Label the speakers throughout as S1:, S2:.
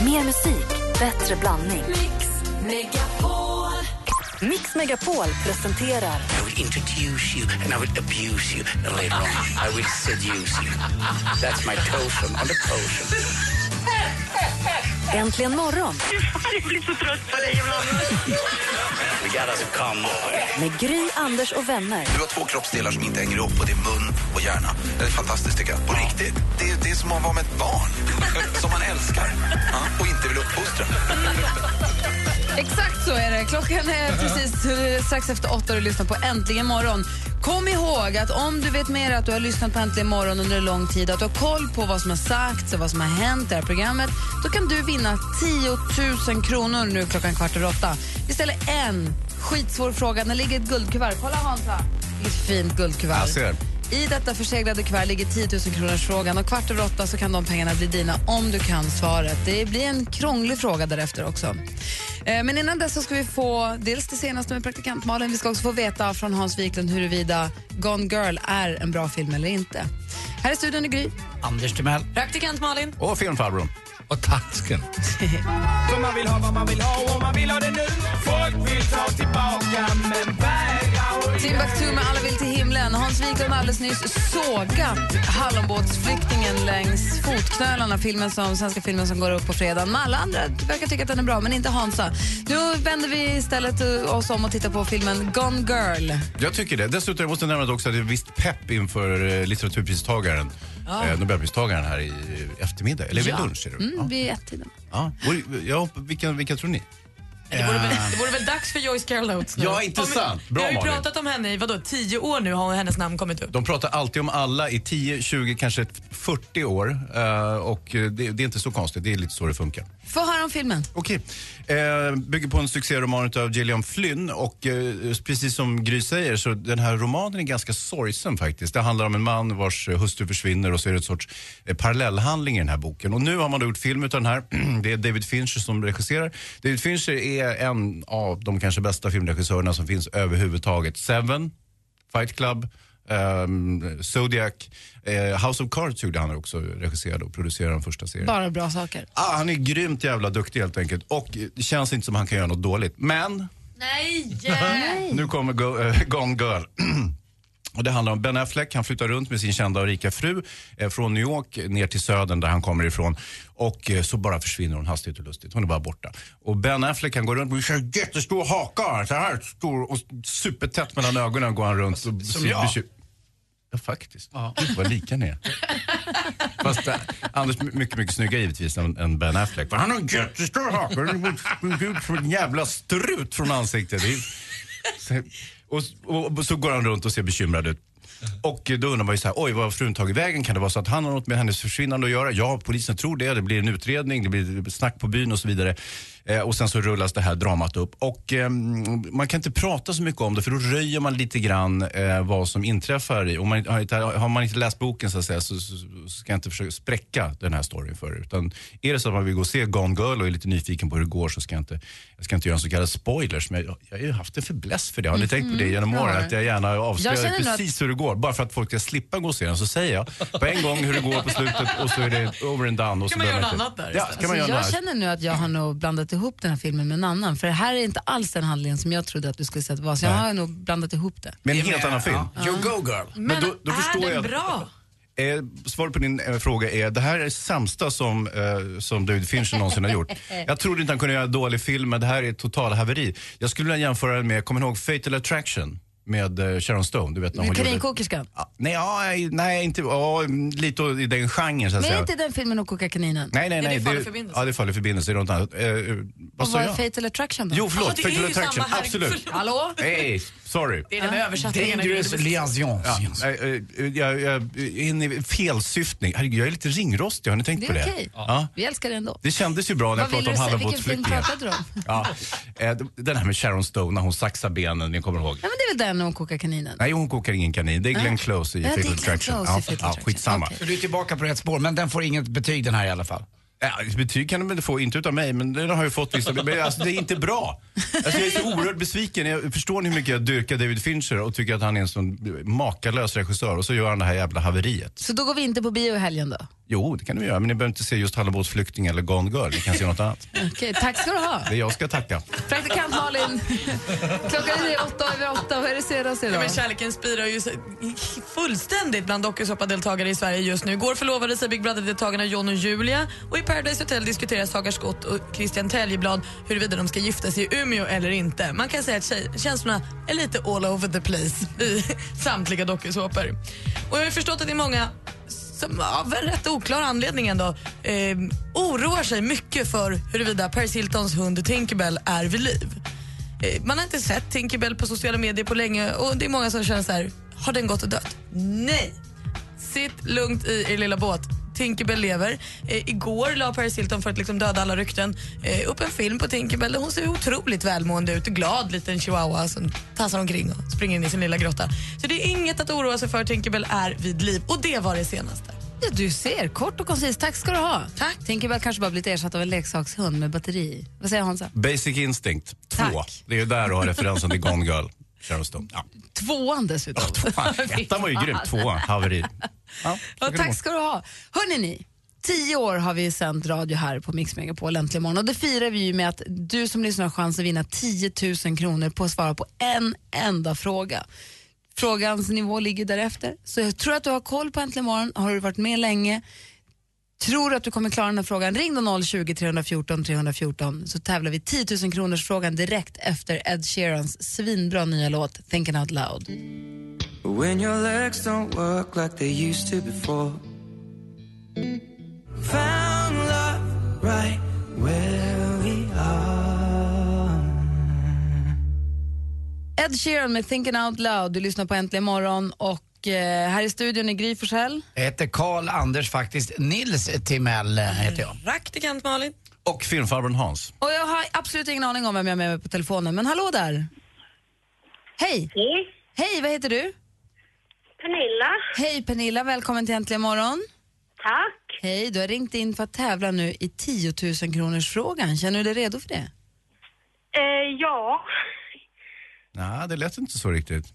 S1: Mer musik, bättre blandning.
S2: Mix Megapol.
S1: Mix Megapol presenterar
S3: I will introduce you and I will abuse you. And later on, I will seduce you. That's my potion on the potion.
S1: Äntligen morgon
S4: Jag blir så trött på dig ibland.
S3: We got us a combo.
S1: med Gry, Anders och vänner.
S5: Du har två kroppsdelar som inte hänger ihop och det är mun och hjärna. Det är fantastiskt tycker jag. På riktigt. Det, är- det är som att vara med ett barn som man älskar ja, och inte vill uppfostra.
S6: Exakt så är det. Klockan är precis eh, strax efter åtta och du lyssnar på Äntligen morgon. Kom ihåg att om du vet mer att du har lyssnat på Äntligen morgon under en lång tid att du har koll på vad som har sagts och vad som har hänt i det här programmet då kan du vinna 10 000 kronor nu klockan kvart över åtta. Vi ställer en skitsvår fråga. Där ligger ett guldkuvert. Kolla Hansa. Det är ett fint guldkuvert.
S7: Jag ser.
S6: I detta förseglade kuvert ligger 10 000 kronors frågan och kvart över åtta så kan de pengarna bli dina om du kan svaret. Det blir en krånglig fråga därefter också. Eh, Men innan dess så ska vi få dels det senaste med praktikant Malin. Vi ska också få veta från Hans Wiklund huruvida Gone Girl är en bra film eller inte. Här är studion i Gry.
S3: Anders Timell.
S6: Praktikant Malin.
S7: Och filmfarbrorn.
S3: Och tasken.
S8: För man vill ha vad man vill ha och man vill ha det nu Folk vill ta tillbaka men vägrar att
S6: Timbuktu med Alla vill till himlen. Hans Wiklund har alldeles nyss sågat Hallonbåtsflyktingen längs fotknölarna, filmen som, svenska filmen som går upp på fredag. Men alla andra verkar tycka att den är bra, men inte Hansa. Nu vänder vi istället eh, oss om och tittar på filmen Gone Girl.
S7: Jag tycker det. Dessutom jag måste nämna också att det är visst pepp inför eh, litteraturpristagaren, eh, Nobelpristagaren här i eh, eftermiddag. Eller vid lunch är det väl?
S6: Mm, vid ett-tiden.
S7: Ja. Ja. Vore- Ja. Vilka, vilka tror ni?
S4: Det vore, väl, det vore väl dags för Joyce Carol Oates nu?
S7: Ah. Ja, inte sant. Bra,
S4: Vi har ju
S7: Malin.
S4: pratat om henne i vadå, tio år nu har hennes namn kommit upp.
S7: De pratar alltid om alla i 10, 20, kanske 40 år. eh, Och eh, det, det är inte så konstigt, det är lite så det funkar.
S6: Få höra om filmen.
S7: Okej. Eh, bygger på en succéroman av Gillian Flynn och eh, precis som Gry säger så den här romanen är ganska sorgsen faktiskt. Det handlar om en man vars eh, hustru försvinner och så är det ett sorts eh, parallellhandling i den här boken. Och nu har man då gjort film utav den här. det är David Fincher som regisserar. David Fincher är en av de kanske bästa filmregissörerna som finns överhuvudtaget. Seven, Fight Club, ehm, Zodiac, eh, House of Cards gjorde han också, regisserade och producerade den första serien.
S6: Bara bra saker.
S7: Ah, han är grymt jävla duktig helt enkelt. Och eh, det känns inte som han kan göra något dåligt. Men
S6: Nej!
S7: nu kommer go, eh, Gone Girl. Och det handlar om Ben Affleck. Han flyttar runt med sin kända och rika fru eh, från New York ner till södern där han kommer ifrån. Och eh, så bara försvinner hon hastigt och lustigt. Hon är bara borta. Och Ben Affleck han går runt med en jättestor haka. Så här stor och supertätt mellan ögonen går han runt. Som
S5: jag.
S7: Ja, faktiskt. Gud, vad lika ni är. Fast eh, Anders my- mycket, mycket snyggare givetvis än, än Ben Affleck. För han har en jättestor haka. Han ser ut som en jävla strut från ansiktet. Det är- så- Och, och, och så går han runt och ser bekymrad ut. Och eh, då undrar man ju så här, oj vad har frun tagit vägen? Kan det vara så att han har något med hennes försvinnande att göra? Ja, polisen tror det. Det blir en utredning, det blir snack på byn och så vidare. Eh, och sen så rullas det här dramat upp. Och eh, man kan inte prata så mycket om det för då röjer man lite grann eh, vad som inträffar. i. Om man, har, inte, har man inte läst boken så, att säga, så, så, så ska jag inte försöka spräcka den här storyn för er. Utan är det så att man vill gå och se Gone Girl och är lite nyfiken på hur det går så ska jag inte, jag ska inte göra en så kallad spoilers. Men jag, jag har ju haft en förbläss för det. Har ni tänkt på det genom åren? Att jag gärna
S6: Mm, Jag
S7: avslöjar
S6: känner nog
S7: precis hur det går. Bara för att folk ska slippa gå och se den så säger jag på en gång hur det går på slutet och så är det over and done. Och så
S4: Kan man göra
S7: behöver jag
S4: något
S7: inte-
S4: annat där
S7: Ja, kan
S6: Alltså,
S7: man göra
S6: jag
S7: något annat.
S6: känner nu att jag har nog blandat ihop den här filmen med en annan. För det här är inte alls den handlingen som jag trodde att du skulle säga att det var. Så jag har nog blandat ihop det.
S7: Men en helt annan film.
S5: You go girl.
S7: Men då, då förstår
S4: är den
S7: jag.
S4: bra?
S7: Eh, svaret på din eh, fråga är, det här är sämsta som, eh, som David Fincher någonsin har gjort. Jag trodde inte han kunde göra en dålig film, men det här är ett total haveri. Jag skulle vilja jämföra den med, kommer ni ihåg Fatal Attraction? Med eh, Sharon Stone, du vet när hon gjorde...
S6: Kaninkokerskan.
S7: Ja, nej, ja, nej, inte... Ja, lite i den genren så att
S6: Men
S7: säga.
S6: är inte den filmen att koka kaninen?
S7: Nej, nej,
S4: det
S7: nej.
S4: Fall i förbindelse?
S7: Ja, det faller i förbindelse. Det är något annat. Eh, eh, vad
S6: Och
S7: sa
S6: vad är
S7: jag?
S6: Fatal Attraction då?
S7: Jo, förlåt.
S4: Ja, det är
S7: Fatal
S4: ju samma,
S7: Attraction.
S4: herregud,
S7: Absolut.
S4: förlåt.
S6: Hallå?
S7: Nej, sorry.
S4: Det är den översättningen.
S5: Dangerous liaisons.
S7: Ja, nej, eh, jag, jag, in i felsyftning. Herregud, jag är lite ringrostig. Har ni tänkt
S6: Det
S7: på
S6: är
S7: det?
S6: okej.
S7: Ja.
S6: Vi älskar det ändå.
S7: Det kändes ju bra när jag
S6: Vad vill
S7: pratade
S6: du säga?
S7: om
S6: Vilken film
S7: Hallandsbåtsflyktingen.
S6: pratade du om?
S7: Ja, eh, den här med Sharon Stone när hon saxar benen, ni kommer ihåg.
S6: Ja, men det är väl den när hon kokar kaninen?
S7: Nej, hon kokar ingen kanin. Det är Glenn Close i
S6: Ja, det är
S7: Fatal
S6: Glenn
S7: Attraction.
S6: Close i
S7: Ja,
S6: Fatal
S7: ja,
S6: Attraction.
S7: skitsamma.
S6: Okej.
S5: Du är tillbaka på rätt spår men den får inget betyg den här i alla fall.
S7: Ja, Eh, betyg kan de inte få, inte utav mig, men den har ju fått vissa. Men alltså, det är inte bra. Alltså, jag är så oerhört besviken. Jag förstår ni hur mycket jag dyrkar David Fincher och tycker att han är en sån makalös regissör och så gör han det här jävla haveriet.
S6: Så då går vi inte på bio i helgen då?
S7: Jo, det kan du göra, men ni behöver inte se just Hallandsbåtsflykting eller Gone Girl. Ni kan se något annat.
S6: Okej, tack ska du ha.
S7: Det är jag ska tacka.
S6: Praktikant Malin, klockan är åtta över åtta. Vad är det senaste
S4: Ja,
S6: idag?
S4: men kärleken spirar ju så- fullständigt bland dokusåpadeltagare i Sverige just nu. Igår förlovade sig Big Brother-deltagarna John och Julia och i Paradise Hotel diskuterar Saga Skott och Christian Täljeblad huruvida de ska gifta sig i Umeå eller inte. Man kan säga att tjej- känslorna är lite all over the place i samtliga dokusåpor. Och jag har ju förstått att det är många som av en rätt oklar anledning ändå eh, oroar sig mycket för huruvida Paris Hiltons hund Tinkerbell är vid liv. Eh, Man har inte sett Tinkerbell på sociala medier på länge och det är många som känner så här, har den gått och dött? Nej! Sitt lugnt i er lilla båt. Tinkerbell lever. Eh, igår la Paris Hilton för att liksom döda alla rykten eh, upp en film på Tinkerbell där hon ser otroligt välmående ut. Glad liten chihuahua som tassar omkring och springer in i sin lilla grotta. Så det är inget att oroa sig för. Tinkerbell är vid liv. Och det var det senaste.
S6: Ja, du ser, kort och koncist. Tack ska du ha.
S4: Tack.
S6: Tänker väl kanske bara blivit ersatt av en leksakshund med batteri. Vad säger Hansa?
S7: Basic Instinct 2.
S6: Tack.
S7: Det är ju där du har referensen till Gone Girl. Sharon Stone. Ja.
S6: Tvåan dessutom.
S7: Fan, Ettan var ju grym, tvåan haveri. Ja, så
S6: Ja,
S7: kan det vara.
S6: tack ska du ha. Hörrni ni, tio år har vi sänt radio här på Mix Megapol äntligen morgon och det firar vi ju med att du som lyssnar har chans att vinna 10 000 kronor på att svara på en enda fråga. Frågans nivå ligger därefter, så jag tror att du har koll på Äntligen morgon, har du varit med länge, tror du att du kommer klara den här frågan, ring då 020 314 314 så tävlar vi 10 000 kronors frågan direkt efter Ed Sheerans svinbra nya låt Thinking Out Loud.
S9: When your legs don't work like they used to before. Found love right where we are.
S6: Ed Sheeran med Thinking Out Loud. Du lyssnar på Äntligen Morgon och eh, här i studion är Gry Forssell.
S3: Jag heter Karl Anders faktiskt. Nils Timell eh, heter jag.
S4: Praktikant Malin.
S7: Och filmfarbrorn Hans.
S6: Och jag har absolut ingen aning om vem jag har med mig på telefonen, men hallå där! Hej!
S10: Hej,
S6: Hej, vad heter du?
S10: Pernilla.
S6: Hej Pernilla, välkommen till Äntligen Morgon.
S10: Tack.
S6: Hej, du har ringt in för att tävla nu i 10 000 kronors frågan. Känner du dig redo för det?
S10: Eh, ja,
S7: Nej, det lät inte så riktigt.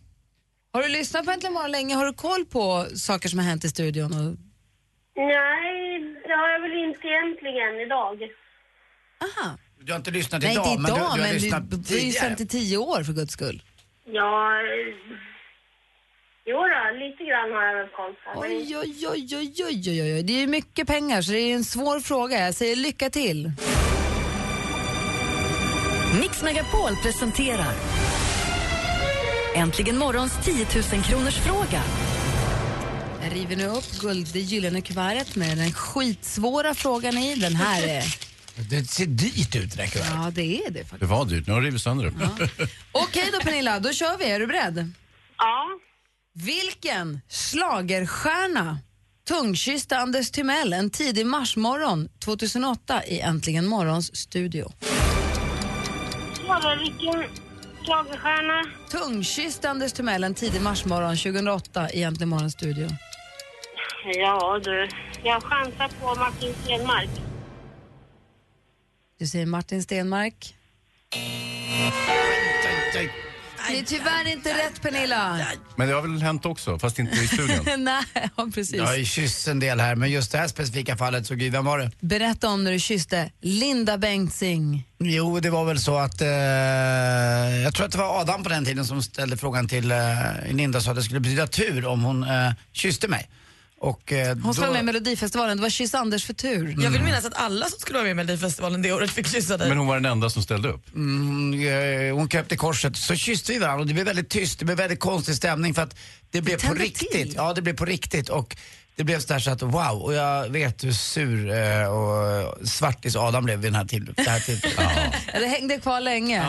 S6: Har du lyssnat på Äntligen Morgon länge? Har du koll på saker som har hänt i studion? Och...
S10: nej, det har jag väl inte egentligen idag.
S6: Aha.
S3: Du har inte lyssnat
S6: Nej,
S3: idag,
S6: inte
S3: men du, du
S6: idag,
S3: har
S6: men du,
S3: lyssnat
S6: du, du har ju
S3: tidigare.
S6: sänt i tio år för guds skull.
S10: Ja, eh, jo då, lite grann har jag väl koll på. men-
S6: Oj, oj, oj, oj, oj, oj, oj. Det är ju mycket pengar så det är en svår fråga. Jag säger lycka till.
S1: Mix Megapol presenterar Äntligen morgons 10 000 kronors fråga.
S6: Jag river nu upp guld, det gyllene kuvertet med den skitsvåra frågan i. Den här är...
S3: Det ser dyrt ut det där kuvertet.
S6: Ja, det är det faktiskt.
S7: Det var dyrt, nu har du rivit sönder det.
S6: Okej då Pernilla, då kör vi. Är du beredd?
S10: Ja,
S6: Vilken schlagerstjärna tungkysste Anders Timell en tidig marsmorgon 2008 i Äntligen morgons studio?
S10: Klara, vilken schlagerstjärna?
S6: Tungkysste Anders Timell en tidig marsmorgon 2008 i Äntligen morgons studio?
S10: Ja du, jag chansar på Martin Stenmark.
S6: Du säger Martin Stenmark. Det är tyvärr inte rätt, Pernilla.
S7: Men det har väl hänt också, fast inte i studion.
S6: Nej, ja, precis.
S3: Jag har ju kysst en del här, men just det här specifika fallet, så gud, vem var det?
S6: Berätta om när du kysste Linda Bengtzing.
S3: Jo, det var väl så att eh, jag tror att det var Adam på den tiden som ställde frågan till eh, Linda så att det skulle betyda tur om hon eh, kysste mig. Och, eh,
S6: Hon som
S3: då-
S6: var med i Melodifestivalen. Det var Kyss Anders för tur.
S4: Jag vill minnas att alla som skulle vara med i Melodifestivalen det året fick kyssa dig.
S7: Men hon var den enda som ställde upp.
S3: Mm, eh, hon kröp till korset. Så kysste vi varandra och det blev väldigt tyst. Det blev väldigt konstig stämning för att det blev på
S6: tände
S3: riktigt.
S6: till.
S3: Ja, det blev på riktigt. Och det blev sådär så att wow, och jag vet hur sur eh, och svartis Adam blev vid den här till, det här tillfället.
S6: Det hängde kvar länge.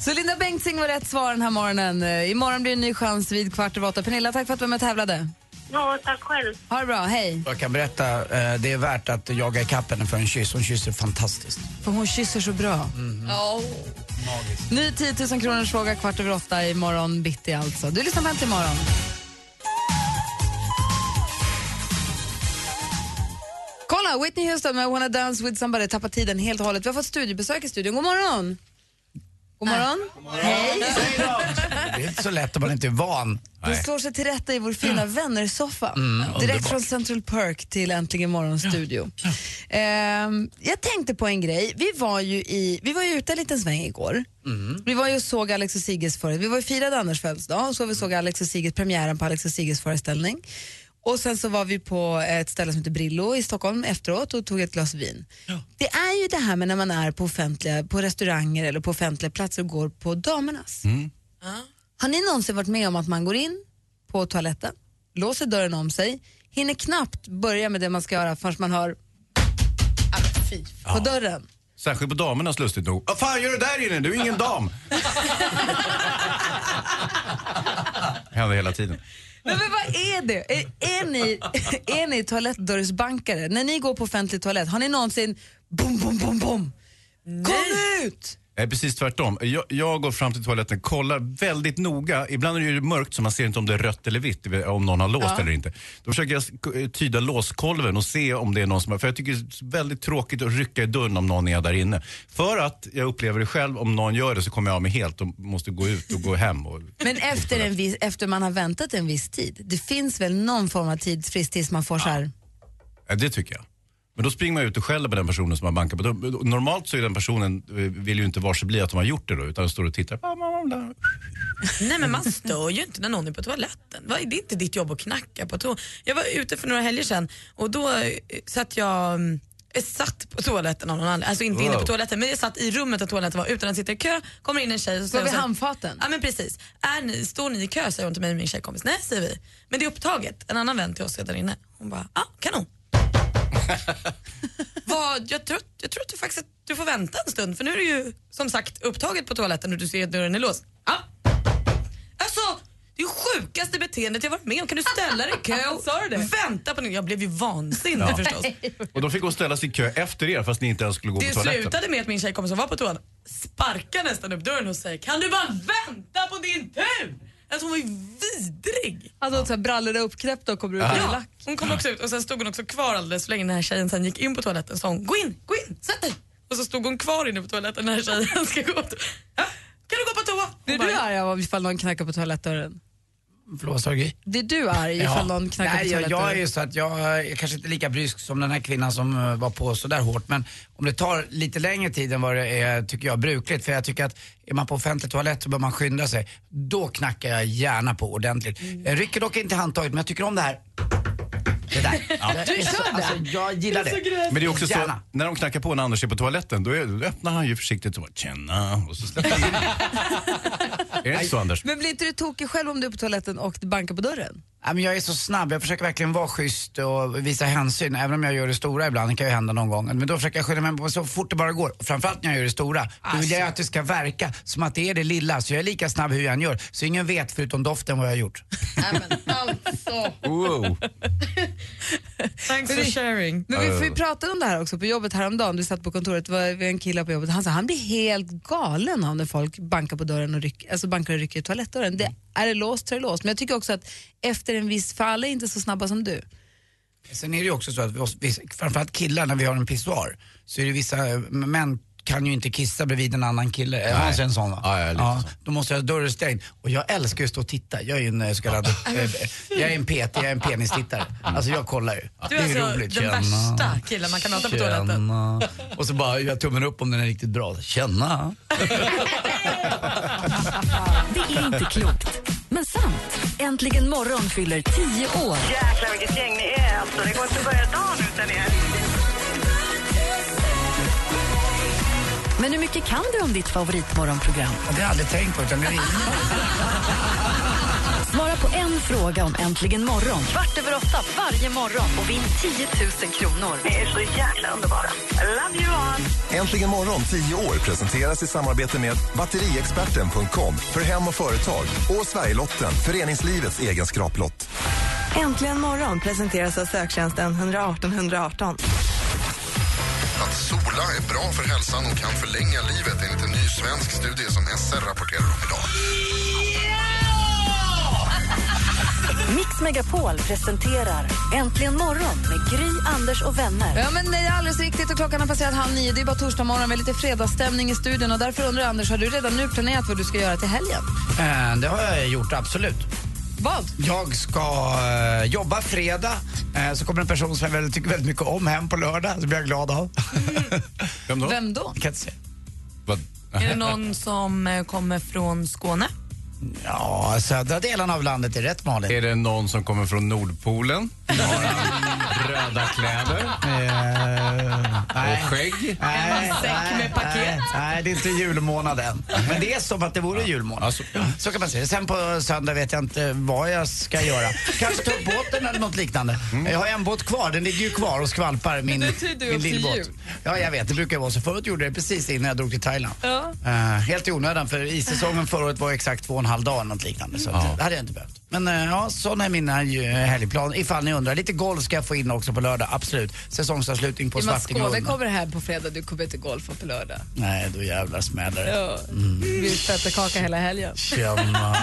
S6: Så Linda Bengtzing var rätt svar den här morgonen. Eh, Imorgon blir det en ny chans vid kvart över åtta. Pernilla, tack för att du var med och tävlade.
S10: Ja, tack själv.
S6: Ha det bra, hej.
S3: Jag kan berätta, eh, det är värt att jaga ikapp henne för en kyss. Hon kysser fantastiskt.
S6: För hon kysser så bra.
S4: Ja.
S6: Ny 10 000 kronors fråga kvart över åtta imorgon bitti alltså. Du lyssnar på Äntligen morgon. Kolla, Whitney Houston med Wanna Dance With Somebody tappar tiden helt och hållet. Vi har fått studiebesök i studion. God morgon! God morgon. Hej.
S3: Det är inte så lätt om man inte är van.
S6: Du slår sig till rätta i vår fina vännersoffa.
S3: Mm,
S6: Direkt
S3: underbart.
S6: från Central Park till Äntligen morgonstudio. Ehm, jag tänkte på en grej. Vi var ju, i, vi var ju ute en liten sväng igår.
S3: Mm.
S6: Vi var ju och såg Alex och Sigges föreställning. Vi var ju firade Anders födelsedag och så var vi och såg
S3: Mm.
S6: Alex och Sigges, premiären på Alex och Sigges föreställning. Och sen så var vi på ett ställe som heter Brillo i Stockholm efteråt och tog ett glas vin. Det är ju det här med när man är på offentliga, på restauranger eller på offentliga platser och går på damernas. Har ni någonsin varit med om att man går in på toaletten, låser dörren om sig, hinner knappt börja med det man ska göra förrän man hör på dörren?
S7: Särskilt på damernas lustigt nog. Vad fan gör du där inne? Du är ingen dam. Händer hela tiden.
S6: Men, men vad är det? Är, är, ni, är ni toalettdörrsbankare? När ni går på offentlig toalett, har ni någonsin bom, bom, bom, bom? Kom ut!
S7: Nej, precis tvärtom. Jag, jag går fram till toaletten, kollar väldigt noga. Ibland är det ju mörkt så man ser inte om det är rött eller vitt, om någon har låst
S6: Ja.
S7: eller inte. Då försöker jag sk- tyda låskolven och se om det är någon som har... För jag tycker det är väldigt tråkigt att rycka i dörren om någon är där inne. För att jag upplever det själv, om någon gör det så kommer jag av mig helt och måste gå ut och gå hem. Och,
S6: Men efter, en viss, efter man har väntat en viss tid, det finns väl någon form av tidsfrist tills man får så här...
S7: Ja, det tycker jag. Men då springer man ut och skäller på den personen som har bankat på dörren. Normalt så är den personen, eh, vill ju inte varse bli att de har gjort det då, utan står och tittar.
S4: Nej men man stör ju inte när någon är på toaletten. Va? Det är inte ditt jobb att knacka på toaletten. Jag var ute för några helger sedan och då eh, satt jag mm, jag satt på toaletten av någon anledning, alltså inte inne på
S6: Wow.
S4: toaletten men jag satt i rummet där toaletten var utan att sitta i kö, kommer in en tjej och
S6: Var
S4: säger
S6: vid
S4: så här,
S6: handfaten?
S4: Ja men precis. Är ni, står ni i kö? säger hon till mig och min tjejkompis. Nej säger vi. Men det är upptaget. En annan vän till oss är där inne. Hon bara, ah, kanon. Vad, jag, tror, jag tror att du faktiskt att du får vänta en stund för nu är det ju som sagt upptaget på toaletten och du ser att dörren är låst. Ja. Alltså, det är ju sjukaste beteendet jag varit med om. Kan du ställa dig i kö och vänta på någon? Jag blev ju vansinnig
S7: Ja.
S4: förstås.
S7: Och då fick hon ställa sig i kö efter er fast ni inte ens skulle gå
S4: Det
S7: på toaletten.
S4: slutade med att min tjejkompis som var på toan sparkar nästan upp dörren och säger kan du bara vänta på din tur? Alltså hon var ju vidrig.
S6: Alltså ja. brallorna uppknäppta och kommer ut
S4: Ja.
S6: och lack.
S4: Hon kom också ut och sen stod hon också kvar alldeles för länge när den här tjejen sen gick in på toaletten sa hon gå in, gå in, sätt dig. Och så stod hon kvar inne på toaletten när den här tjejen ska gå. ut. Ja, Kan du gå på toa?
S6: Blir du arg av ifall någon knackar på toalettdörren?
S3: Blåsorgi.
S6: Blir du arg ifall någon knackar
S3: Nej,
S6: på
S3: jag,
S6: toalettdörren?
S3: jag är ju så att jag eh, är kanske inte lika brysk som den här kvinnan som eh, var på så där hårt. Men om det tar lite längre tid än vad det är, tycker jag, brukligt. För jag tycker att är man på offentlig toalett så bör man skynda sig. Då knackar jag gärna på ordentligt. Jag rycker dock inte i handtaget, men jag tycker om det här. Det där.
S7: Ja.
S3: Det är så- Alltså, jag gillar det.
S7: Men det är också så,
S3: Gärna.
S7: när de knackar på när Anders är på toaletten, då, är, då öppnar han ju försiktigt och bara tjena. Och så släpper han in. Är det inte så Anders?
S6: Men blir inte du tokig själv om du är på toaletten och det bankar på dörren?
S3: Ja, men jag är så snabb, jag försöker verkligen vara schysst och visa hänsyn. Även om jag gör det stora ibland, det kan ju hända någon gång. Men då försöker jag skynda mig på så fort det bara går. Och Framförallt när jag gör det stora. Då vill jag ju att det ska verka som att det är det lilla. Så jag är lika snabb hur jag än gör. Så ingen vet förutom doften vad jag har gjort.
S6: Alltså.
S7: Wow.
S4: Thanks for sharing.
S6: Men vi,
S3: Ja, ja,
S6: för vi
S3: ja.
S6: pratade om det här också på jobbet häromdagen. Vi satt på kontoret, det var vi var en kille på jobbet. Han sa han blir helt galen av när folk bankar på dörren och ryck, alltså bankar och rycker i toalettdörren. Det, är det låst så är det låst. Men jag tycker också att efter en viss fall är inte så snabba som du.
S3: Sen är det ju också så att vi, oss- vi, framförallt killar när vi har en pissoar så är det vissa eh, män kan ju inte kissa bredvid en annan kille. Är Hans är en sån va? Ja, ja, Då måste jag ha dörren stängd. Och jag älskar ju att stå och titta. Jag är ju en eh, så kallad... eh, eh, jag är en PT, jag är en penistittare. Alltså jag kollar ju.
S4: Du är alltså den värsta killen man kan möta på toaletten.
S3: Tjena. Och så bara jag tummen upp om den är riktigt bra. Känna.
S1: Det är inte klokt, men sant. Äntligen morgon fyller 10 år.
S11: Jäklar vilket gäng ni är alltså. Det går inte att börja dagen utan er.
S1: Men hur mycket kan du om ditt favoritmorgonprogram?
S3: Det har jag aldrig tänkt på. Utan det är...
S1: Svara på en fråga om Äntligen morgon. Kvart över åtta varje morgon och vinn 10 000 kronor.
S11: Ni är så jäkla underbara. I love you all.
S12: Äntligen morgon 10 år presenteras i samarbete med batteriexperten.com för hem och företag och Sverigelotten, föreningslivets egen skraplott.
S13: Äntligen morgon presenteras av söktjänsten 118 118.
S14: Att sola är bra för hälsan och kan förlänga livet enligt en ny svensk studie som SR rapporterar om idag.
S1: Mix Megapol presenterar Äntligen morgon med Gry, Anders och vänner.
S15: Ja, men det är alldeles riktigt och klockan har passerat halv nio. Det är bara torsdag morgon, vi har lite fredagsstämning i studion och därför undrar jag, Anders, har du redan nu planerat vad du ska göra till helgen?
S3: Eh, Det har jag gjort, absolut.
S15: Vad?
S3: Jag ska eh, jobba fredag, eh, så kommer en person som jag väl, tycker väldigt mycket om hem på lördag, så blir jag glad av.
S7: Vem
S4: då? Vem då?
S3: Jag kan inte säga.
S4: Är det någon som eh, kommer från Skåne?
S3: Ja, södra delen av landet är rätt maligt.
S7: Är det någon som kommer från Nordpolen? Har han röda kläder?
S3: nej.
S7: Och skägg?
S3: Nej, nej, nej, nej, det är inte julmånad än. Men det är som att det vore julmånad.
S7: Alltså,
S3: Så kan man säga. Sen på söndag vet jag inte vad jag ska göra. Kanske ta upp båten eller något liknande. Jag har en båt kvar, den ligger ju kvar och skvalpar. Min,
S9: det tyder ju
S3: min
S9: upp till
S3: lillbåt.
S9: jul.
S3: Ja, jag vet. Det brukar vara så. Förut gjorde jag det precis innan jag drog till Thailand.
S9: Ja.
S3: Eh, helt i onödan, för issäsongen förra året var exakt två och en halv dag eller något liknande. Så
S9: Ja.
S3: det hade jag inte behövt. Men eh, ja, sådana är mina eh, helgplaner. Ifall ni undrar. Lite golf ska jag få in också på lördag, absolut. Säsongsavslutning på
S6: Jonas
S3: Svartingen och
S6: Skåne
S3: Ullna.
S6: kommer här på fredag, du kommer inte golfa på lördag.
S3: Nej, då jävlar smäller
S6: Ja.
S3: det. Mm.
S6: Vi tvättar kaka hela helgen.
S3: Tjena,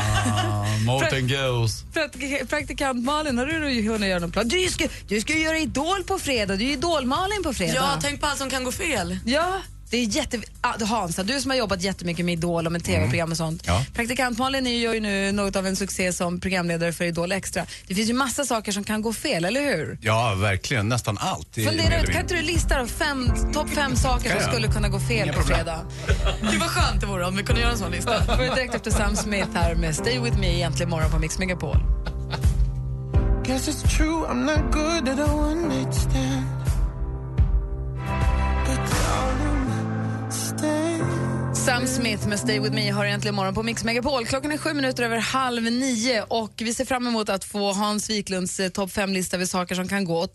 S3: Mårten Goes.
S6: Praktik- Praktikant Malin, har du hunnit göra någon plan? Du ska, du ska ju göra Idol på fredag, du är ju Idol-Malin på fredag.
S4: Ja, tänk på allt som kan gå fel.
S6: Ja, det är jätte... Ah, Hansa, du som har jobbat jättemycket med Idol och med tv-program och sånt.
S4: Mm. Ja.
S6: Praktikant Malin är ju- gör ju nu något av en succé som programledare för Idol Extra. Det finns ju massa saker som kan gå fel, eller hur?
S7: Ja, verkligen. Nästan allt. i- mer
S6: Fundera
S7: eller
S6: ut, kan
S7: mindre.
S6: inte du lista då fem, topp fem saker
S7: Kan
S6: som
S7: jag?
S6: skulle kunna gå fel
S7: Inga
S6: på
S7: problem.
S6: fredag?
S4: Gud vad skönt det vore om vi kunde göra en sån lista.
S6: Då är det direkt efter Sam Smith här med Stay With Me egentligen morgon på Mix Megapol.
S9: Guess it's true, I'm not good at all understand. But darling, stay.
S6: Sam Smith med Stay With Me har egentligen morgon på Mix Megapol. Klockan är sju minuter över halv nio och vi ser fram emot att få Hans Wiklunds eh, topp fem-lista över saker som kan gå åt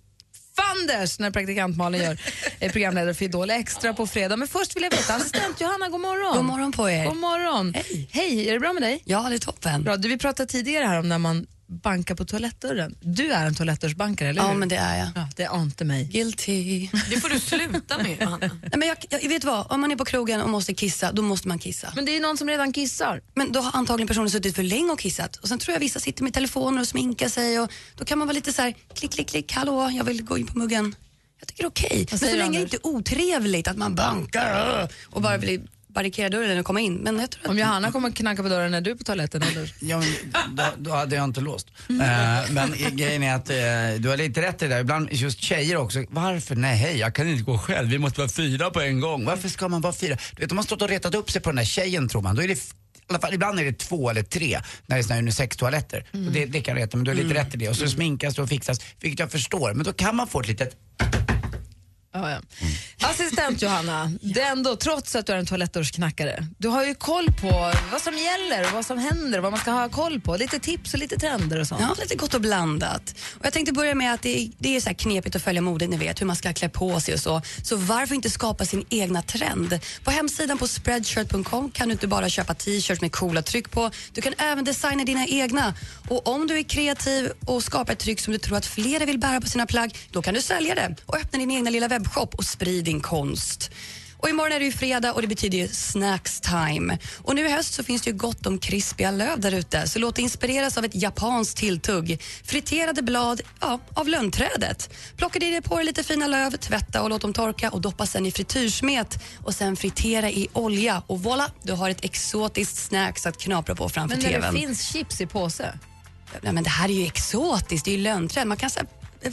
S6: fanders när praktikant Malin gör eh, programledare för Idol Extra på fredag. Men först vill jag veta, assistent Johanna, god morgon.
S16: God morgon på er.
S6: God morgon. Hej. är det bra med dig?
S16: Ja, det är toppen.
S6: Bra, du, vi pratade tidigare här om när man bankar på toalettdörren. Du är en toalettdörrsbankare, eller
S16: Ja,
S6: hur?
S16: men det är jag.
S6: Ja, det ante mig.
S16: Guilty.
S4: Det får du sluta med, Johanna.
S16: Nej, men jag, jag, vet vad, om man är på krogen och måste kissa, då måste man kissa.
S6: Men det är ju någon som redan kissar.
S16: Men då har antagligen personen suttit för länge och kissat. Och sen tror jag vissa sitter med telefoner och sminkar sig och då kan man vara lite så här: klick, klick, klick, hallå, jag vill gå in på muggen. Jag tycker det är okej. Men så
S6: säger
S16: länge
S6: Anders?
S16: det inte är otrevligt att man bankar "Åh", och bara vill barrikera dörren och komma in. Men jag tror att...
S6: Om Johanna kommer knacka på dörren när du är på toaletten, eller?
S3: Ja, men då, då hade jag inte låst. Eh, men i- grejen är att eh, du har lite rätt i det där. Ibland just tjejer också. Varför? Nej, hej, jag kan inte gå själv. Vi måste vara fyra på en gång. Varför ska man vara fyra? Du vet, de har stått och retat upp sig på den där tjejen tror man. Då är det f- i alla fall, ibland är det två eller tre när det är såna här unisex-toaletter. Och Det, det kan reta, men du har lite rätt i det. Och så sminkas det och fixas, vilket jag förstår. Men då kan man få ett litet...
S6: Ja, ja.
S7: Mm.
S6: Assistent Johanna, det är ändå trots att du är en toalettdörrsknackare. Du har ju koll på vad som gäller, vad som händer, vad man ska ha koll på. Lite tips och lite trender och sånt.
S16: Ja, lite gott och blandat. Och jag tänkte börja med att det är, det är så här knepigt att följa modet, ni vet hur man ska klä på sig och så. Så varför inte skapa sin egna trend? På hemsidan på spreadshirt.com kan du inte bara köpa t-shirts med coola tryck på, du kan även designa dina egna. Och om du är kreativ och skapar ett tryck som du tror att flera vill bära på sina plagg, då kan du sälja det och öppna din egna lilla webbshop och sprid din konst. Och imorgon är det ju fredag och det betyder ju snacks time. Och nu i höst så finns det ju gott om krispiga löv där ute, så låt dig inspireras av ett japanskt tilltugg. Friterade blad, ja, av lönnträdet. Plocka dig på dig lite fina löv, tvätta och låt dem torka och doppa sen i frityrsmet och sen fritera i olja och voilà, du har ett exotiskt snacks att knapra på framför
S6: Men när
S16: TVn.
S6: det finns chips i påse?
S16: Nej, men det här är ju exotiskt, det är ju lönnträd. Man kan så här,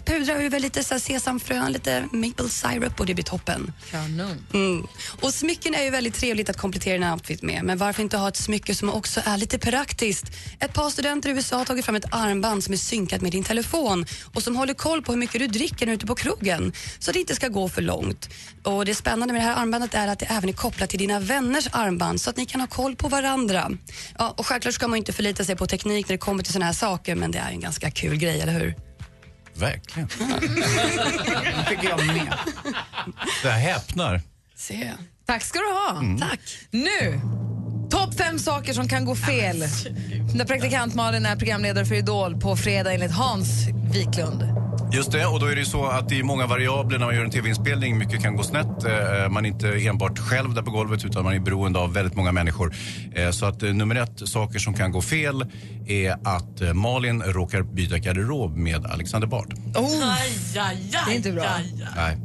S16: pudra över lite så här, sesamfrön, lite maple syrup och det blir toppen.
S6: Kanon.
S16: Mm. Och smycken är ju väldigt trevligt att komplettera en outfit med, men varför inte ha ett smycke som också är lite praktiskt? Ett par studenter i USA har tagit fram ett armband som är synkat med din telefon och som håller koll på hur mycket du dricker när du är ute på krogen, så det inte ska gå för långt. Och det spännande med det här armbandet är att det även är kopplat till dina vänners armband så att ni kan ha koll på varandra. Ja, och självklart ska man ju inte förlita sig på teknik när det kommer till sådana här saker, men det är ju en ganska kul grej, eller hur?
S7: Verkligen.
S3: Det tycker jag med.
S7: Det här häpnar.
S16: Se.
S6: Tack ska du ha.
S7: Mm.
S6: Tack. Nu, topp fem saker som kan gå fel när praktikant Malin är programledare för Idol på fredag enligt Hans Wiklund.
S7: Just det, och då är det ju så att det är många variabler när man gör en tv-inspelning. Mycket kan gå snett. Eh, Man är inte enbart själv där på golvet utan man är beroende av väldigt många människor. Eh, Så att eh, nummer ett, saker som kan gå fel är att eh, Malin råkar byta garderob med Alexander Bard.
S4: Oh. Aj, aj, aj, det är inte bra.
S7: Nej.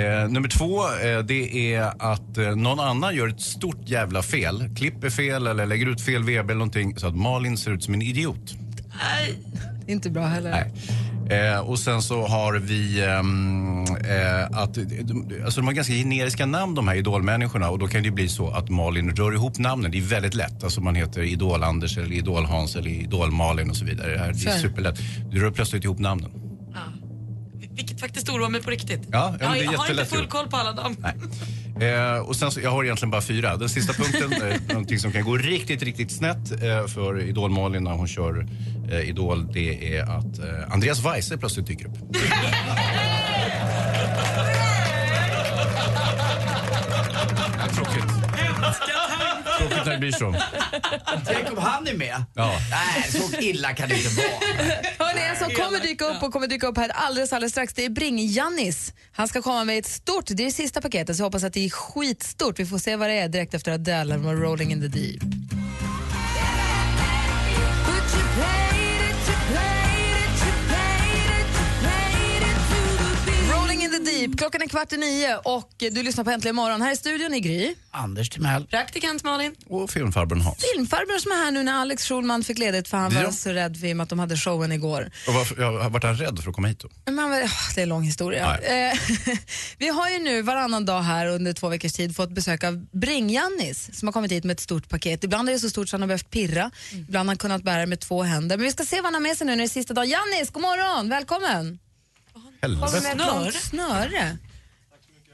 S7: Eh, nummer två, eh, det är att eh, någon annan gör ett stort jävla fel. Klipper fel eller lägger ut fel VB eller någonting så att Malin ser ut som en idiot.
S15: Inte bra heller.
S7: Eh, och sen så har vi ehm, eh, att alltså de har ganska generiska namn de här idolmänniskorna och då kan det ju bli så att Malin rör ihop namnen. Det är väldigt lätt. Alltså man heter Idol-Anders eller Idol-Hans eller Idol-Malin och så vidare. Det, här, det
S4: Sure.
S7: är superlätt. Du rör plötsligt ihop namnen.
S4: Vilket faktiskt oroar mig på riktigt.
S7: Ja, ja, men det
S4: jag
S7: är
S4: har inte
S7: jättelätt
S4: full
S7: gjort.
S4: koll på alla dem.
S7: Eh, och sen så, jag har egentligen bara fyra. Den sista punkten, eh, någonting som kan gå riktigt, riktigt snett eh, för Idol-Malin när hon kör eh, Idol, det är att eh, Andreas Weise plötsligt dyker upp. Tråkigt. Tråkigt när det blir så.
S3: Tänk om han är med.
S7: Ja.
S3: Nej, så illa kan det inte vara.
S6: Hörrni, en som kommer dyka upp och kommer dyka upp här alldeles, alldeles strax, det är Bring-Jannis. Han ska komma med ett stort, det är det sista paketet, så jag hoppas att det är skitstort. Vi får se vad det är direkt efter Adele med Rolling in the Deep. Rolling in the Deep, klockan är kvart i nio och du lyssnar på Äntligen morgon. Här i studion i Gry.
S3: Anders Timell.
S6: Praktikant Malin.
S7: Och filmfarbrorn Hans.
S6: Filmfarbrorn som är här nu när Alex Schulman fick ledigt för han var
S7: Ja.
S6: så rädd för att de hade showen igår.
S7: Och varför, ja, vart han rädd för att komma hit då?
S6: Men, han var- åh, det är en lång historia. Eh, vi har ju nu varannan dag här under två veckors tid fått besök av Bring-Jannis som har kommit hit med ett stort paket. Ibland är det så stort så han har behövt pirra, ibland har han kunnat bära det med två händer. Men vi ska se vad han har med sig nu när det är sista dagen. Jannis, god morgon! Välkommen! Kommer med ett långt snöre.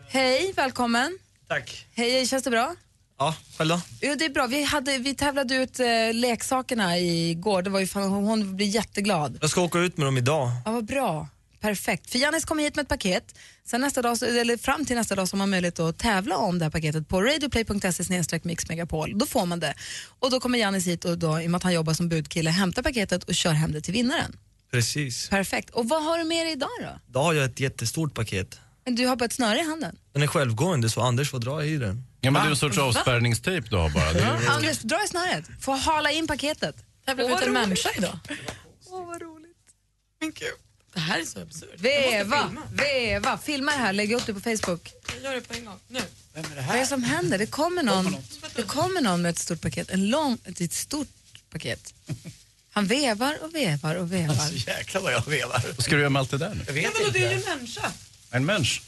S6: Hej, välkommen!
S17: Tack.
S6: Hej, känns det bra?
S17: Ja, själv då?
S6: Jo, det är bra. Vi, hade, vi tävlade ut eh, leksakerna igår. Det var ju fan, hon, hon blev jätteglad.
S17: Jag ska åka ut med dem idag.
S6: Ja, vad bra. Perfekt. För Jannis kommer hit med ett paket. Sen nästa dag, så- eller fram till nästa dag så har man möjlighet att tävla om det här paketet på radioplay.se mixmegapol. Då får man det. Och då kommer Jannis hit och då, i och med att han jobbar som budkille, hämtar paketet och kör hem det till vinnaren.
S17: Precis.
S6: Perfekt. Och vad har du med dig idag då?
S17: Idag har jag ett jättestort paket.
S6: Men Du har bara ett snöre i handen.
S17: Den är självgående så Anders får dra i den.
S7: Ja,
S6: men det är en sorts Va?
S7: avspärrningstejp du har bara.
S6: Anders, dra i snöret. Få hala in paketet.
S4: Tävlar vi ut en människa idag?
S6: Det här är så absurt. Veva, veva. Filma det här, lägg upp det på Facebook.
S4: Jag gör det på en gång. Nu.
S6: Vad är det som händer? Det kommer någon, det kommer någon med ett stort paket. En lång, ett, ett stort paket. Han vevar och vevar och vevar.
S18: Alltså,
S7: jäklar vad jag vevar. Vad ska du göra med allt det där nu?
S3: Jag
S4: Ja, men då, det är ju en människa.
S7: En människa?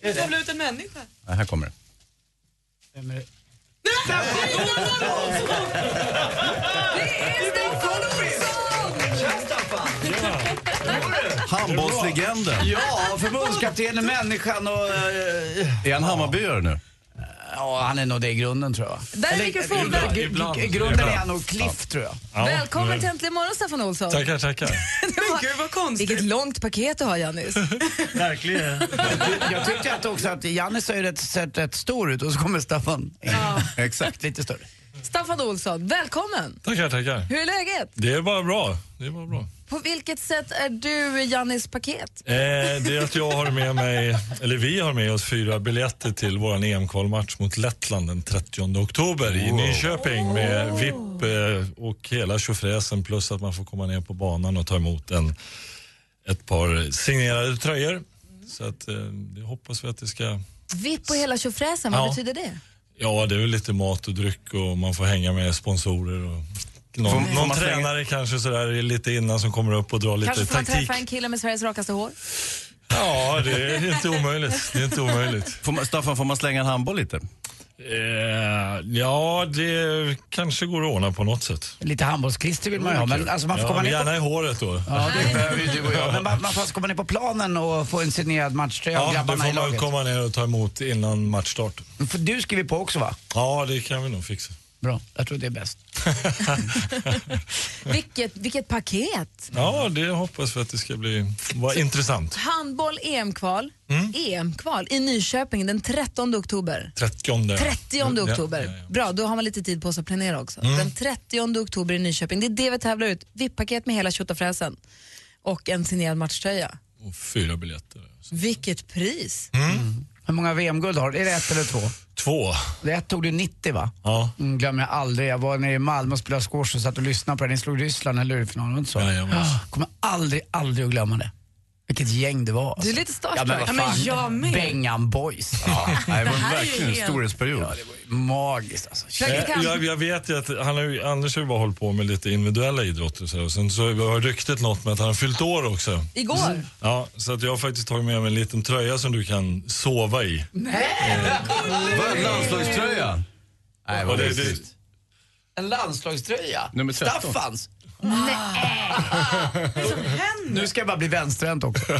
S4: Jag tävlar ut en människa.
S7: Nej, här kommer det. Handbollslegenden.
S3: Ja, förbundskaptenen, människan och... eh,
S7: Är han Hammarbyare nu?
S3: Ja, han är nog det i grunden tror jag.
S6: Där är
S3: Eller,
S6: mikrofonen.
S3: i- i-
S6: Ibland.
S3: I grunden är han nog
S6: Ibland.
S3: Cliff tror jag.
S6: Välkommen till Äntligen morgon, Staffan Olsson.
S17: Tackar, tackar.
S6: Men gud vad konstigt. Vilket långt paket du har, Jannis.
S17: Verkligen.
S3: Jag tyckte att också att Janne ser ju rätt, sett rätt stor ut och så kommer Staffan. Ja.
S7: Exakt.
S3: Lite större.
S6: Staffan Olsson, välkommen.
S18: Tackar, tackar.
S6: Hur är läget?
S18: Det är bara bra. Det är bara bra.
S6: På vilket sätt är du Jannis paket?
S18: Eh, det är att jag har med mig, eller vi har med oss fyra biljetter till vår EM-kvalmatch mot Lettland den 30 oktober i Nyköping med VIP eh, och hela tjofräsen plus att man får komma ner på banan och ta emot en, ett par signerade tröjor. Så att, eh, det hoppas vi att det ska
S6: Vipp och hela tjofräsen, vad
S18: Ja.
S6: betyder det?
S18: Ja, det är väl lite mat och dryck och man får hänga med sponsorer och någon,
S7: Får- får
S18: någon
S7: man slänga-
S18: tränare kanske sådär lite innan som kommer upp och drar lite
S6: Kanske får man
S18: taktik.
S6: träffa en kille med Sveriges rakaste hår?
S18: Ja, det är inte omöjligt. Det är inte omöjligt.
S7: Får man, Staffan, får man slänga en handboll lite?
S18: Eh, ja, det kanske går att ordna på något sätt.
S3: Lite handbollsklister vill man ju ha, men alltså man får
S18: ja,
S3: komma
S18: men
S3: ner på...
S18: Gärna i håret då.
S3: Ja, det behöver ju du och jag. Men man, man får alltså komma ner på planen och få en signerad matchtröja av
S18: Ja, då
S3: grabbarna i
S18: får man
S3: laget.
S18: komma ner och ta emot innan matchstart.
S3: För du skriver på också va?
S18: Ja, det kan vi nog fixa.
S3: Bra, jag tror det är bäst.
S6: Vilket, vilket paket!
S18: Ja, det hoppas vi att det ska bli vara intressant.
S6: Handboll EM-kval.
S18: Mm.
S6: EM-kval i Nyköping den 13 oktober.
S18: 30.
S6: 30
S18: Ja,
S6: oktober.
S18: ja, ja.
S6: Bra, då har man lite tid på sig att planera också.
S18: Mm.
S6: Den 30 oktober i Nyköping. Det är det vi tävlar ut. VIP-paket med hela tjottafräsen och en signerad matchtröja.
S18: och fyra biljetter.
S15: Vilket pris!
S18: Mm.
S3: Hur många VM-guld har du? Är det ett eller två?
S18: Två.
S3: Det ett tog du 90 va?
S18: Ja.
S3: Mm, glömmer jag aldrig. Jag var nere i Malmö och spelade squash och satt och lyssnade på det. Ni slog Ryssland, eller hur? i Finalen, var det inte så?
S18: Jajamän.
S3: Ah, Kommer aldrig, aldrig att glömma det. Vilket gäng det var. Alltså.
S6: lite
S3: Ja,
S6: starstruck.
S3: men, vad
S6: Ja, men
S3: fan.
S6: jag med.
S3: Bengan Boys.
S7: Ja,
S18: det var Det här är ju verkligen en helt-
S7: storhetsperiod.
S3: Ja, det var ju magiskt alltså.
S18: Jag, Eh, jag, jag vet ju att han har, ju- Anders har ju bara hållit på med lite individuella idrotter och så, här. och sen så har ryktet nått med att han har fyllt år också.
S6: Igår?
S18: Ja, så att jag har faktiskt tagit med mig en liten tröja som du kan sova i.
S7: Vad, landslagströja? Nej, vad
S18: Och det- det-
S7: mysigt.
S3: En landslagströja?
S7: Nummer 13.
S3: Staffans?
S6: Vad som händer?
S3: Nu ska jag bara bli vänsterhänt också. det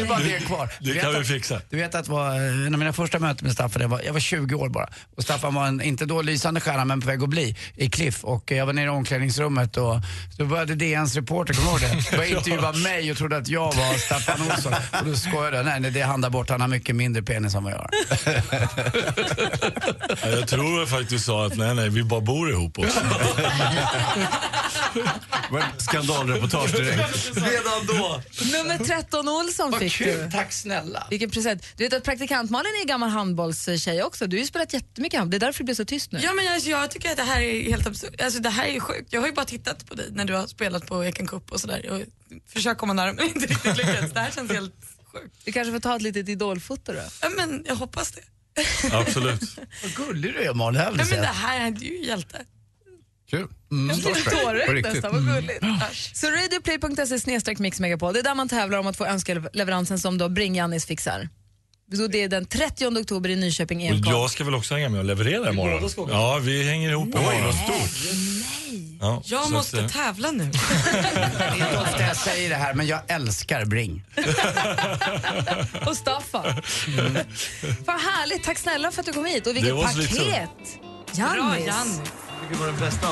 S3: är bara det kvar.
S18: Det kan vi fixa.
S3: Du vet att det var eh, en av mina första möten med Staffan, jag var, jag var 20 år bara. Och Staffan var en, inte då lysande stjärna, men på väg att bli, i Cliff. Och eh, jag var nere i omklädningsrummet och då började DNs reporter, kommer du ihåg det? Började intervjua mig och trodde att jag var Staffan Olsson. Och då skojade jag, nej, nej det är han där borta, han har mycket mindre penis än vad jag har.
S18: Ja, jag tror jag faktiskt sa att nej, nej, vi bara bor ihop också.
S7: Skandalreportage direkt.
S18: Redan då.
S6: Nummer 13 Olsson
S3: Vad
S6: fick
S3: kul,
S6: du.
S3: tack snälla.
S6: Vilken present. Du vet att praktikant-Malin är gammal handbollstjej också. Du har ju spelat jättemycket handboll. Det är därför det blir så tyst nu.
S4: Ja, men jag, jag tycker att det här är helt absurt. Alltså, det här är ju sjukt. Jag har ju bara tittat på dig när du har spelat på Eken Cup och sådär. Jag försöker komma nära men inte riktigt lyckats. Det här känns helt...
S6: Vi kanske får ta ett litet idolfoto då.
S4: Ja, men jag hoppas det.
S18: Absolut.
S3: Vad gullig du är Malin, det här vill
S4: Ja, men
S3: jag
S4: det
S3: säga.
S4: här är ju hjälte.
S7: Kul.
S3: Mm.
S6: Jag blir tårögd nästan, vad gulligt.
S4: Mm.
S6: Så radioplay.se snedstreck mixmegapol, det är där man tävlar om att få önskeleveransen som då Bring-Jannis fixar. Så det är den 30 oktober i Nyköping E
S18: Och
S6: Enkom.
S18: jag ska väl också hänga med och leverera
S6: båda
S18: imorgon.
S6: ska åka.
S18: Ja, vi hänger ihop imorgon. Vad stort. Ja, så
S4: Jag
S18: att,
S4: måste
S18: eh,
S4: tävla nu.
S3: Det är inte ofta jag säger det här, men jag älskar Bring.
S6: Och Staffan. Vad härligt, tack snälla för att du kom hit. Och
S3: Mm. Det
S6: vilket
S3: var så lite så.
S6: paket!
S4: Bra
S6: Jannis!
S4: Jannis.
S17: Vilket var den bästa?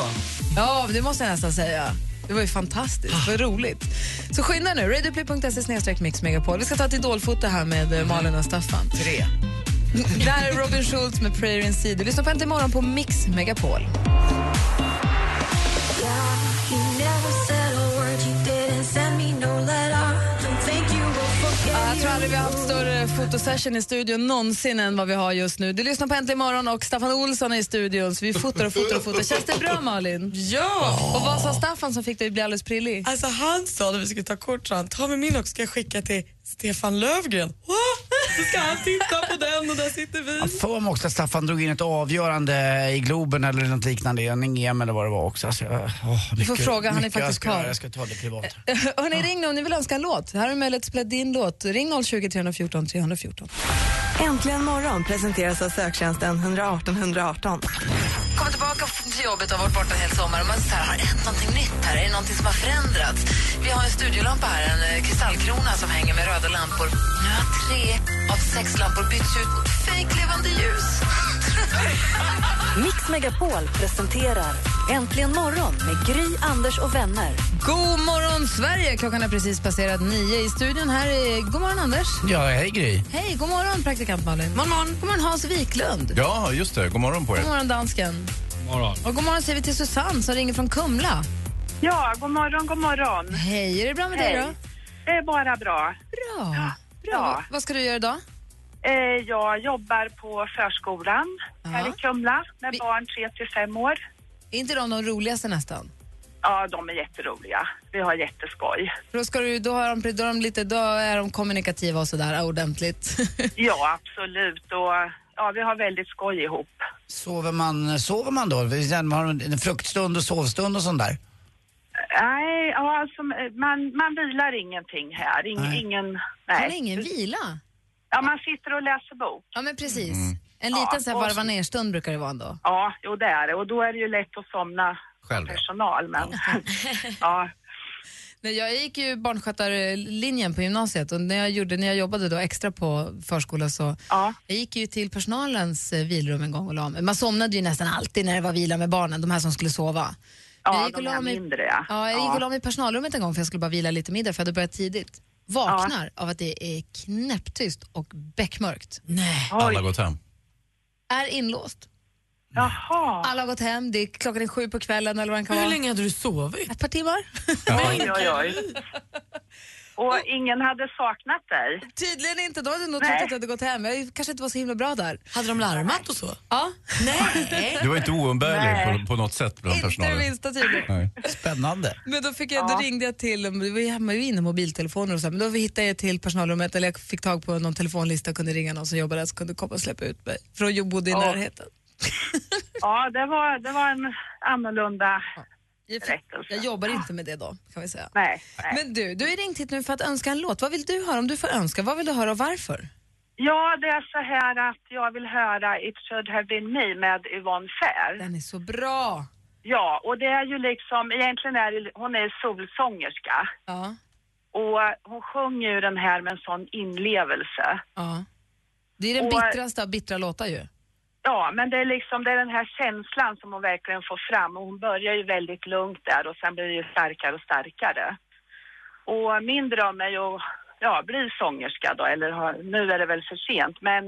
S6: Ja, det måste jag nästan säga. Det var ju fantastiskt, vad roligt. Så skynda nu, radioplay.se snedstreck mixmegapol. Vi ska ta ett idolfoto här med eh, Malin och Staffan.
S3: Tre.
S6: Där är Robin Schultz med Prayer in Sea. Du lyssnar på Äntligen morgon på Mix Megapol. Ja, Jag tror aldrig vi har haft större fotosession i studion någonsin än vad vi har just nu. Du lyssnar på Äntligen morgon och Staffan Olsson är i studion så vi fotar och fotar och fotar. Känns det bra Malin?
S4: Ja!
S6: Och vad sa Staffan som fick dig att bli alldeles prillig?
S4: Alltså han sa när vi skulle ta kort så han ta med min också ska jag skicka till Stefan Löfgren. Wow! Så ska han titta på den och där sitter vi.
S3: Jag får mig också att Staffan drog in ett avgörande i Globen eller något liknande, en EM eller vad det var också. Alltså, jag- åh,
S6: Du får
S3: mycket-
S6: fråga, han är
S3: mycket jag
S6: faktiskt
S3: ska
S6: kvar.
S3: göra. Jag ska ta det privat.
S6: Hörni, ring nu om ni vill önska en låt. Här har du möjlighet att spela din låt. Ring 020 314 314.
S13: Äntligen morgon presenteras av söktjänsten 118 118.
S15: Kommer tillbaka till jobbet och har varit borta en hel sommar och man så här, har det hänt någonting nytt här? Är det någonting som har förändrats? Vi har en studiolampa här, en eh, kristallkrona som hänger med röda lampor. Nu har tre av sex lampor bytts ut mot fejklevande ljus.
S1: Mix Megapol presenterar Äntligen morgon med Gry, Anders och vänner.
S6: God morgon Sverige! Klockan är precis passerat nio. I studion här är... God morgon Anders!
S3: Ja, hej Gry.
S6: Hej, god morgon praktikant Malin. God morgon. God morgon Hans Wiklund.
S7: Ja, just det. God morgon på
S6: God
S7: er.
S6: morgon dansken.
S7: Morgon.
S6: Och god morgon säger vi till Susanne som ringer från Kumla.
S11: Ja, god morgon, god morgon.
S6: Hej, är det bra med dig
S11: Hej.
S6: då?
S11: Det är bara bra.
S6: Bra. Bra.
S11: Ja.
S6: Vad ska du göra idag?
S11: Eh, Jag jobbar på förskolan här i Kumla med barn 3 till 5 år.
S6: Är inte de de roligaste nästan?
S11: Ja, de är jätteroliga. Vi har jätteskoj.
S6: För Då, ska du, då, har de, då, har de lite, då är de kommunikativa och sådär ordentligt.
S11: Ja, absolut. Och ja, vi har väldigt skoj ihop.
S3: Sover man, sover man då? Vi- sen Har man en fruktstund och sovstund och sånt där?
S11: Nej, ja, alltså, man, man vilar ingenting här. Ing,
S3: Nej.
S11: Ingen, nej.
S6: Man har ingen vila?
S11: Ja, man sitter och läser bok.
S6: Ja, men precis. En liten så här
S11: och-
S6: varva ner-stund brukar det vara ändå.
S11: Ja, jo det är det. Och då är det ju lätt att somna
S6: Själv, ja.
S11: personal. Men, ja.
S6: Nej, jag gick ju barnskötarlinjen på gymnasiet och när jag, gjorde, när jag jobbade då extra på förskola så jag gick ju till personalens eh, vilrum en gång och la mig. Man somnade ju nästan alltid när det var vila med barnen, de här som skulle sova.
S11: Ja,
S6: Men jag gick och
S11: de
S6: la
S11: här
S6: mig-
S11: mindre, ja.
S6: ja. Jag gick
S11: Ja.
S6: och la mig i personalrummet en gång för jag skulle bara vila lite middag för jag hade börjat tidigt. Vaknar av att det är knäpptyst och beckmörkt. Nej.
S7: Alla har gått hem.
S6: Är inlåst.
S11: Jaha.
S6: Alla har gått hem, det är, klockan är sju på kvällen eller vad det kan
S4: Hur
S6: vara.
S4: länge hade du sovit?
S6: Ett par timmar.
S11: Oj, oj, oj. Och ingen hade saknat dig.
S6: Tydligen inte. De hade nog
S11: Nej.
S6: trott att jag hade gått hem. Jag kanske inte var så himla bra där. Hade de larmat och så? Ja. Nej.
S7: Du var inte oumbärlig
S6: Nej.
S7: på, på något sätt bland personalen.
S6: det minsta tydligen.
S7: Nej.
S3: Spännande.
S6: Men då fick jag, då ringde jag till, vi var ju hemma ju inne i mobiltelefoner och så, här, men då hittade jag till personalrummet, eller jag fick tag på någon telefonlista och kunde ringa någon som jobbade där som kunde komma och släppa ut mig. För jag bodde i
S11: Ja.
S6: närheten.
S11: Ja, det var, det var en annorlunda
S6: Jag, fick, jag jobbar inte med det då, kan vi säga.
S11: Nej,
S6: Men du, du har ju ringt hit nu för att önska en låt. Vad vill du höra om du får önska? Vad vill du höra och varför?
S11: Ja, det är så här att jag vill höra It should have been me med Yvonne Fair.
S6: Den är så bra!
S11: Ja, och det är ju liksom, egentligen är det- hon är solsångerska.
S6: Ja.
S11: Och hon sjunger ju den här med en sån inlevelse.
S6: Ja. Det är den
S11: Och-
S6: bittraste av bittra låtar ju.
S11: Ja, men det är liksom det är den här känslan som hon verkligen får fram. Och hon börjar ju väldigt lugnt där och sen blir det ju starkare och starkare. Och min dröm är ju att ja, bli sångerska då, eller ha, nu är det väl för sent, men...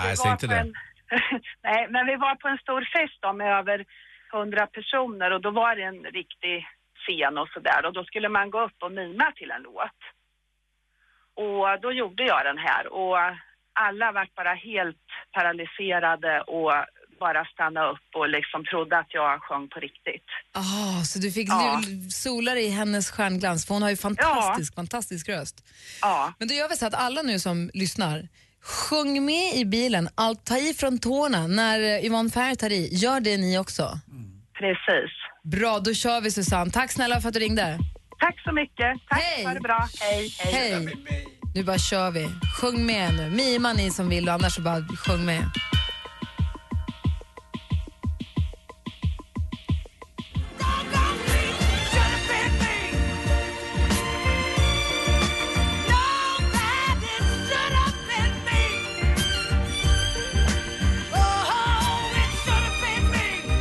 S11: vi
S7: Nej, säg
S11: var
S7: inte
S11: på
S7: det.
S11: En, nej, men vi var på en stor fest då med över 100 personer och då var det en riktig scen och sådär och då skulle man gå upp och mima till en låt. Och då gjorde jag den här och alla vart bara helt paralyserade och bara stannade upp och liksom trodde att jag sjöng på riktigt.
S6: Ah, så du fick
S11: Ja.
S6: l- sola dig i hennes stjärnglans, för hon har ju fantastisk, fantastisk röst.
S11: Ja.
S6: Men då gör vi så att alla nu som lyssnar, sjung med i bilen, allt, ta i från tårna när eh, Yvonne Fär tar i. Gör det ni också.
S11: Precis.
S6: Bra, då kör vi Susanne. Tack snälla för att du ringde.
S11: Tack så mycket. Tack, ha det bra. Hej, hej.
S6: Hej. Nu bara kör vi. Sjung med nu. Mima ni som vill, och annars så bara sjung med.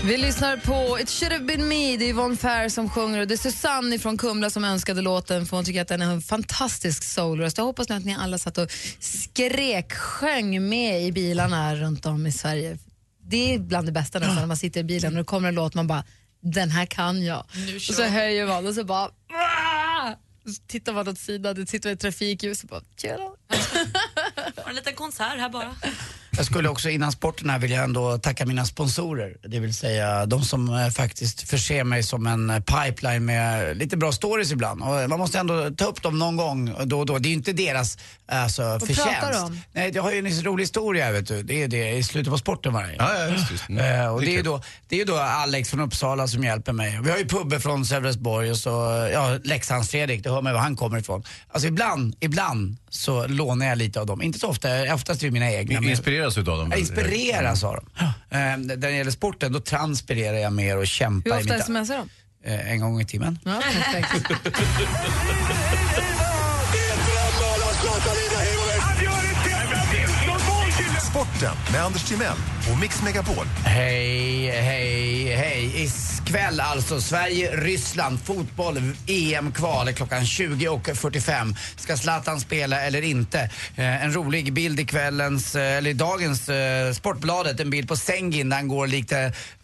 S6: Vi lyssnar på It should have been me, det är Yvonne Fair som sjunger och det är Susanne från Kumla som önskade låten för hon tycker att den är en fantastisk soulröst. Jag hoppas nu att ni alla satt och skrek, sjöng med i bilarna runt om i Sverige. Det är bland det bästa nästan när man sitter i bilen och det kommer en låt man bara, den här kan jag. Och så höjer man och så bara, "Ah!" så tittar man åt sidan, det sitter ett trafikljus och bara, tjena.
S4: Har en liten konsert här bara.
S3: Jag skulle också innan sporten här vilja ändå tacka mina sponsorer. Det vill säga de som eh, faktiskt förser mig som en eh, pipeline med lite bra stories ibland. Och eh, man måste ändå ta upp dem någon gång och då och då. Det är ju inte deras alltså, förtjänst.
S6: pratar du om?
S3: Nej, jag har ju en rolig historia vet du. Det är det i slutet på sporten varje gång.
S7: Ja, just, just.
S3: Eh, och det, är ju då, det är ju då Alex från Uppsala som hjälper mig. Vi har ju Pubbe från Sölvesborg och så eh, ja, Leksands-Fredrik, det hör man ju var han kommer ifrån. Alltså ibland, ibland så lånar jag lite av dem. Inte så ofta, oftast är det mina egna. men-
S7: Inspireras utav dem?
S3: jag inspireras av dem. Ehm, När det gäller sporten, då transpirerar jag mer och kämpar
S6: Hur
S3: i
S6: ofta
S3: mitt...
S6: smsar de?
S3: Eh, En gång i timmen.
S6: Ja, perfekt.
S12: Sporten med Anders Timell och Mix Megapol.
S3: Hej, hej, hej. Ikväll alltså, Sverige-Ryssland, fotboll, EM-kval klockan 20.45. Ska Zlatan spela eller inte? Eh, en rolig bild i kvällens, eh, eller i dagens eh, Sportbladet, en bild på Sengin där han går likt, eh,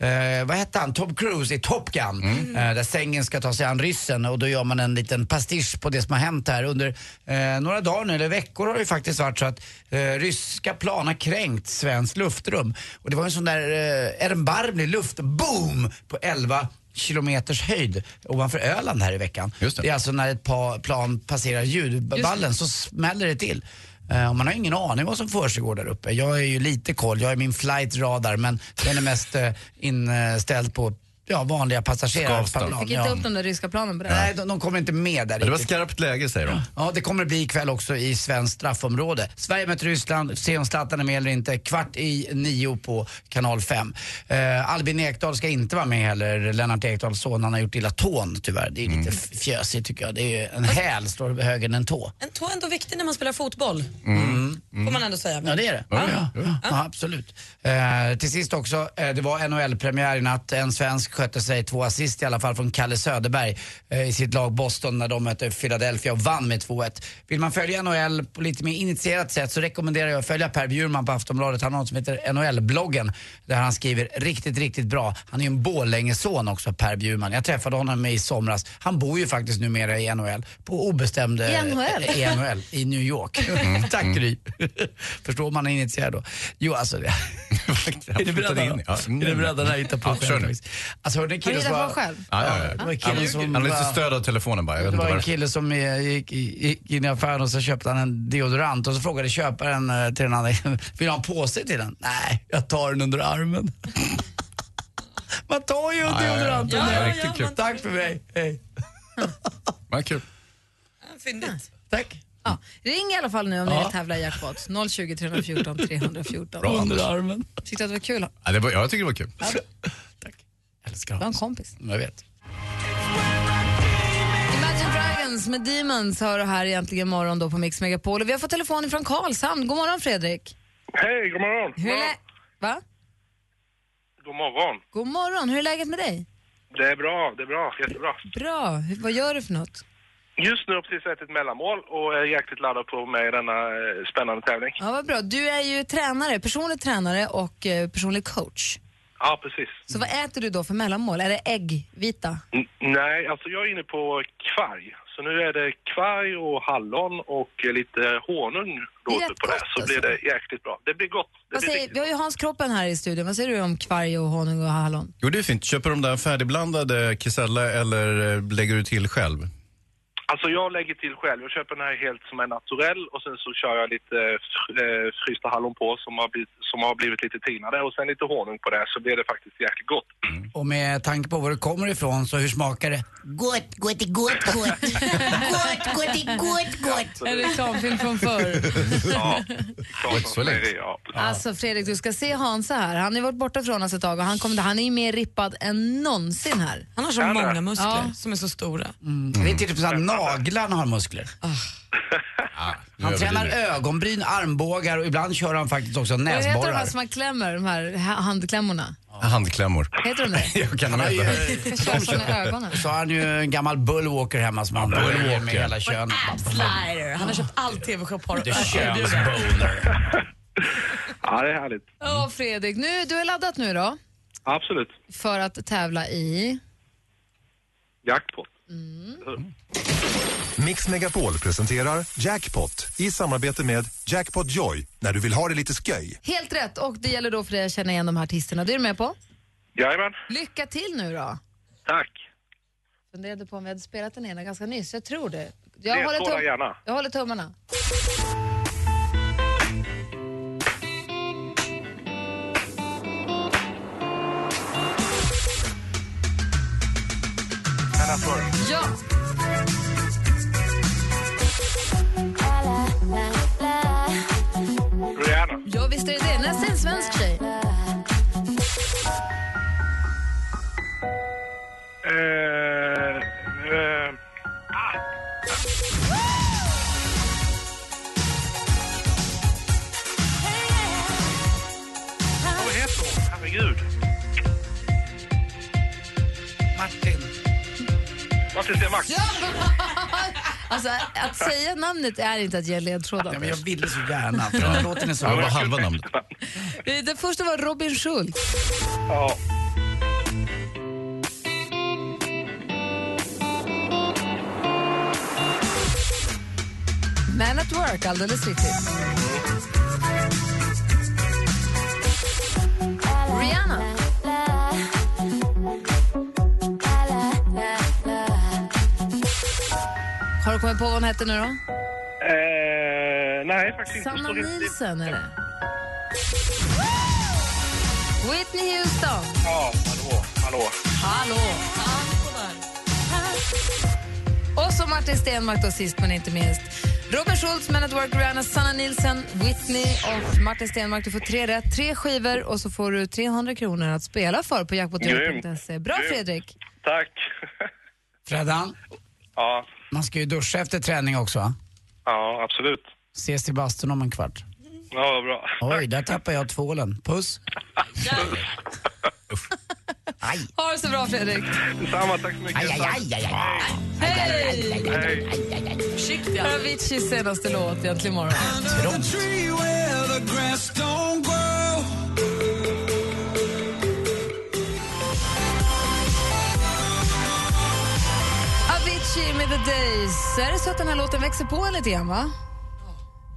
S3: eh, vad hette han, Tom Cruise i Top Gun. Eh, där Sengin ska ta sig an ryssen och då gör man en liten pastisch på det som har hänt här. Under eh, några dagar nu, eller veckor har det ju faktiskt varit så att eh, ryska plan har kränkt svenskt luftrum. Och det var en sån där eh, erbarmlig luftboom på 11 kilometers höjd ovanför Öland här i veckan. det. är alltså när ett par plan passerar ljudballen så smäller det till. Eh, Och man har ingen aning vad som försiggår där uppe. Jag är ju lite koll, jag är min flight radar men den är mest eh, inställd på ja, vanliga passagerare.
S7: Skavsta.
S6: Fick inte upp de där ryska planen på det.
S3: Nej, de, de kommer inte med där
S7: Men det var
S3: riktigt.
S7: skarpt läge säger de.
S3: Ja, det kommer det bli ikväll också i svenskt straffområde. Sverige möter Ryssland, se om Zlatan är med eller inte. Kvart i nio på kanal 5. Eh, Albin Ekdal ska inte vara med heller. Lennart Ekdals son, han har gjort illa tån tyvärr. Det är lite f- fjösigt tycker jag. Det är ju en häl står högre än en tå.
S4: En tå är ändå viktig när man spelar fotboll. Får man ändå säga.
S3: Ja, det är det. Ja, ja, absolut. Eh, till sist också, eh, det var NHL-premiär i natt. En svensk skötte sig. Två assist i alla fall från Kalle Söderberg eh, i sitt lag Boston när de mötte Philadelphia och vann med 2-1. Vill man följa NHL på lite mer initierat sätt så rekommenderar jag att följa Per Bjurman på Aftonbladet. Han har något som heter NHL-bloggen där han skriver riktigt, riktigt bra. Han är ju en Borlängeson också, Per Bjurman. Jag träffade honom i somras. Han bor ju faktiskt numera i NHL på obestämd... eh,
S19: I NHL?
S3: I NHL, i New York.
S7: Mm.
S3: Tack Gry. Förstår man är initierad då. Jo, alltså... Det. är du beredd?
S7: in i- ja. mm.
S3: Anna? Är du beredd att hitta på
S7: Ja, kör nu.
S3: Alltså, hörde en
S6: Har
S3: kille
S6: du hittat
S3: som var-
S6: på själv?
S7: Ja, ja,
S3: Det
S7: ja.
S3: var en
S7: Han
S3: kille som
S7: han har lite
S3: var-
S7: stöd av telefonen bara. Jag vet
S3: det
S7: inte
S3: var en
S7: varför.
S3: kille som eh, gick, gick in i affären och så köpte han en deodorant och så frågade köparen eh, till den andra, vill du ha en påse till den? Nej, jag tar den under armen. Man tar ju
S7: Ja, ja, ja.
S3: deodoranten
S7: Ja,
S3: under
S7: ja,
S3: armen.
S7: ja, riktigt kul.
S3: Tack för mig, hej.
S7: Vad kul.
S6: Fyndigt.
S3: Tack.
S6: Ja. Ring i alla fall nu om ni
S7: Ja.
S6: vill tävla i jackpot. 020 314 314.
S7: Bra, Anders. Under armen.
S6: Tyckte att det var kul?
S7: Ja, det var, jag tycker det var kul.
S3: Älskar
S6: var en kompis.
S3: Jag vet.
S6: Imagine Dragons med Demons hör du här egentligen morgon då på Mix Megapol. Och vi har fått telefon från Karlshamn. God morgon Fredrik.
S20: Hej, god morgon.
S6: Hur är lä- Va?
S20: God morgon.
S6: God morgon, hur är läget med dig?
S20: Det är bra, det är bra, jättebra.
S6: Bra, Hur- vad gör du för något?
S20: Just nu har jag precis ätit mellanmål och är jäkligt laddad på med i denna eh, spännande tävling.
S6: Ja, vad bra. Du är ju tränare, personlig tränare och eh, personlig coach.
S20: Ja, precis.
S6: Så vad äter du då för mellanmål? Är det äggvita?
S20: N- nej, alltså jag är inne på kvarg. Så nu är det kvarg och hallon och eh, lite honung
S6: Det är alltså.
S20: låter på det. Så blir det jäkligt bra. Det blir gott. Det
S6: Vad
S20: blir
S6: säger, vi har ju Hans Kroppen här i studion. Vad säger du om kvarg och honung och hallon?
S7: Jo, det är fint. Köper de där färdigblandade kesella eller eh, lägger du till själv?
S20: Alltså jag lägger till själv. Jag köper den här helt som är naturell och sen så kör jag lite eh, fr- eh, frysta hallon på som har, blivit, som har blivit lite tinade och sen lite honung på det så blir det faktiskt jäkligt gott.
S3: Och med tanke på var du kommer ifrån så hur smakar det?
S21: Gott, gott, gott, gott. Gott, gott, gott, gott.
S6: En reklamfilm från förr.
S20: Ja,
S7: så länge.
S20: Ja.
S6: Alltså Fredrik, du ska se Hansa här. Han har ju varit borta från oss ett tag och han, kom, han är ju mer rippad än någonsin här.
S4: Han har så många muskler som är så stora.
S3: Det är till och med så att naglarna har muskler. Han
S4: nu
S3: tränar
S4: överdriver
S3: ögonbryn, armbågar och ibland kör han faktiskt också
S6: Vad heter de här
S3: näsborrar.
S6: som man klämmer, de här ha- handklämmorna?
S7: Handklämmor.
S6: Heter de det?
S7: Jag kan
S3: Han har
S7: inte.
S3: ju-
S6: Som i ögonen.
S3: Så har han ju en gammal bullwalker hemma som han bullwalker. med hela kön.
S4: Slider. Han har köpt all TV-shop har
S3: Ah! Det är könsboner.
S20: Ja, det är härligt.
S6: Ja, Fredrik, nu, du är laddat nu då
S20: Absolut.
S6: för att tävla i...
S20: Jackpot.
S12: Mix Megapol presenterar Jackpot i samarbete med Jackpot Joy när du vill ha det lite sköj.
S6: Helt rätt, och det gäller då för dig att känna igen de här artisterna. Du är med på?
S20: Jajamän.
S6: Lycka till nu då!
S20: Tack.
S6: Funderade på om vi hade spelat den ena ganska nyss, jag tror det.
S20: Det
S6: håller
S20: får jag gärna.
S6: jag håller tummarna. Ja!
S20: Rihanna.
S6: Ja, visst är det det. Nästan en svensk tjej.
S20: Eh, eh, vad heter hon? Herregud.
S3: Martin.
S20: Martin Stenmarck.
S6: Alltså, att säga namnet är inte att ge ledtrådar.
S3: Men jag ville så gärna, för den här låten är så
S7: Ja, det var
S3: bra.
S7: halva namnet.
S6: Eh, Den första var Robin Schultz.
S20: Ja.
S6: Man at work, alldeles riktigt. Rihanna. Har du kommit på vad hon hette nu då?
S20: Eh, nej, faktiskt inte.
S6: Sanna
S20: Står inte-
S6: Nielsen är det. Whitney Houston.
S20: Ja, hallå, hallå.
S6: Hallå! Och så Martin Stenmarck då sist men inte minst. Robert Schultz, Man at Work, Rihanna, Sanna Nilsson, Whitney och Martin Stenmarck. Du får tre rätt, tre skivor och så får du 300 kronor att spela för på jackpotjoy.se. Bra
S3: Grymt.
S6: Fredrik!
S20: Tack.
S3: Freddan,
S20: Ja,
S3: man ska ju duscha efter träning också va?
S20: ja absolut.
S3: Ses i bastun om en kvart.
S20: Ja, vad bra.
S3: Oj, där tappar jag tvålen. Puss.
S6: Ha det så bra, Fredrik.
S20: Detsamma, tack så mycket.
S6: Aj, aj, aj, aj, aj. Hej! Försiktig. Hör Aviciis senaste låt egentligen imorgon. Avicii med The Days. Är det så att den här låten växer på en lite grann, va?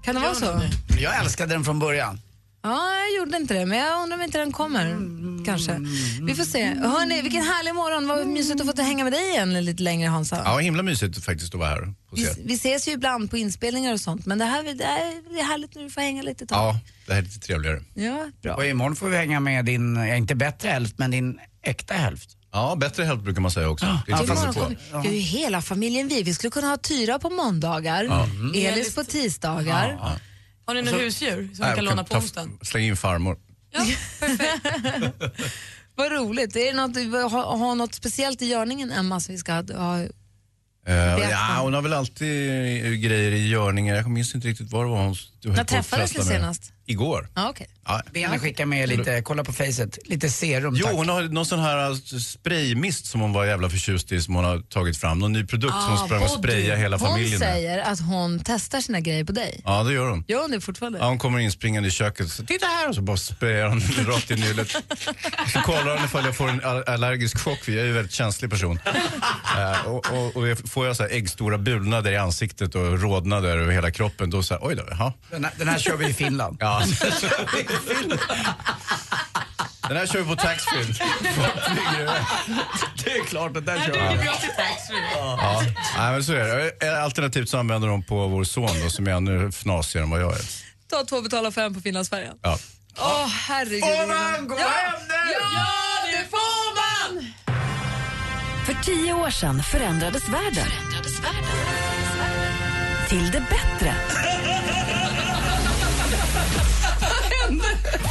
S6: Kan det vara så?
S3: Jag älskade den från början.
S6: Ja, jag gjorde inte det, men jag undrar om inte den kommer.
S4: Mm.
S6: Kanske. Vi får se. Hörni, vilken härlig morgon. Vad mysigt att få ta hänga med dig igen lite längre, Hansa.
S7: Ja, himla mysigt faktiskt att vara här hos
S6: Vi,
S7: er.
S6: vi ses ju ibland på inspelningar och sånt, men det här det är, det är härligt när du får hänga lite ett tag.
S7: Ja, det här är lite trevligare.
S6: Ja.
S3: Och imorgon får vi hänga med din, ja, inte bättre hälft, men din äkta hälft.
S7: Ja, bättre hälft brukar man säga också. Det är
S6: Till
S7: inte
S6: imorgon
S7: på.
S6: kommer ja. ju hela familjen vi. Vi skulle kunna ha Tyra på måndagar,
S7: Ja. Mm.
S6: Elis på tisdagar.
S7: Ja.
S4: Har ni några husdjur som
S7: Nej,
S4: vi kan
S7: vi kan
S4: låna på
S7: ta-
S4: onsdagen?
S7: Släng in farmor.
S6: Vad roligt. Är det något, har, har något speciellt i görningen, Emma, som vi ska ha? ha
S7: Eh,
S6: Berätta.
S7: ja, hon har väl alltid eh, grejer i görningar. Jag minns inte riktigt var det var hon... Du höll på
S6: när
S7: att
S6: träffades ni
S7: trassla med.
S6: senast?
S7: Igår.
S6: Ja, okej.
S7: Ja.
S3: Benen skickar med lite, kolla på facet, lite serum
S7: Jo,
S3: tack.
S7: hon har någon sån här alltså, spraymist som hon var jävla förtjust i som hon har tagit fram. Någon ny produkt som
S6: Ah,
S7: hon sprang och
S6: Boddy.
S7: sprayade hela
S6: Hon
S7: familjen med.
S6: säger att hon testar sina grejer på dig.
S7: Ja, det gör hon.
S6: Gör hon det fortfarande?
S7: Ja, hon kommer inspringande i köket så titta här och så bara sprayar hon rakt i nyllet. Så kollar hon ifall jag får en all- allergisk chock för jag är ju en väldigt känslig person. Eh, och, och, och jag- får jag så här äggstora bulnader i ansiktet och rodnader över hela kroppen då så här, oj då, jaha.
S3: Den här, den här kör vi i Finland.
S7: Ja. Den här kör vi på taxfree.
S3: Det är klart, den där kör
S7: duger
S3: vi.
S7: bra Ja, nej, men så är det. Alternativt så använder de på vår son då, som är ännu fnasigare än vad jag är.
S6: Ta två betala fem på Finlandsfärjan.
S7: Ja.
S6: Åh, herregud.
S21: Får man gå hem
S6: nu? Ja, det får man!
S1: För tio år sedan förändrades världen. Till det bättre.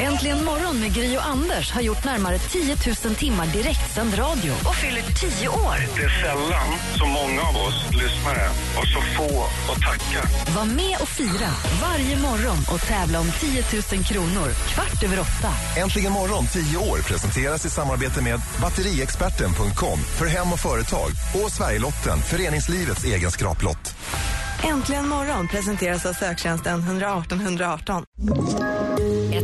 S1: Äntligen morgon med Gry och Anders har gjort närmare 10 000 timmar direktsänd radio och fyller 10 år.
S20: Det är sällan så många av oss lyssnare och så få att tacka.
S1: Var med och fira varje morgon och tävla om 10 000 kronor kvart över åtta.
S12: Äntligen morgon 10 år presenteras i samarbete med batteriexperten.com för hem och företag och Sverigelotten, föreningslivets egen skraplott.
S13: Äntligen morgon presenteras av söktjänsten 118 118.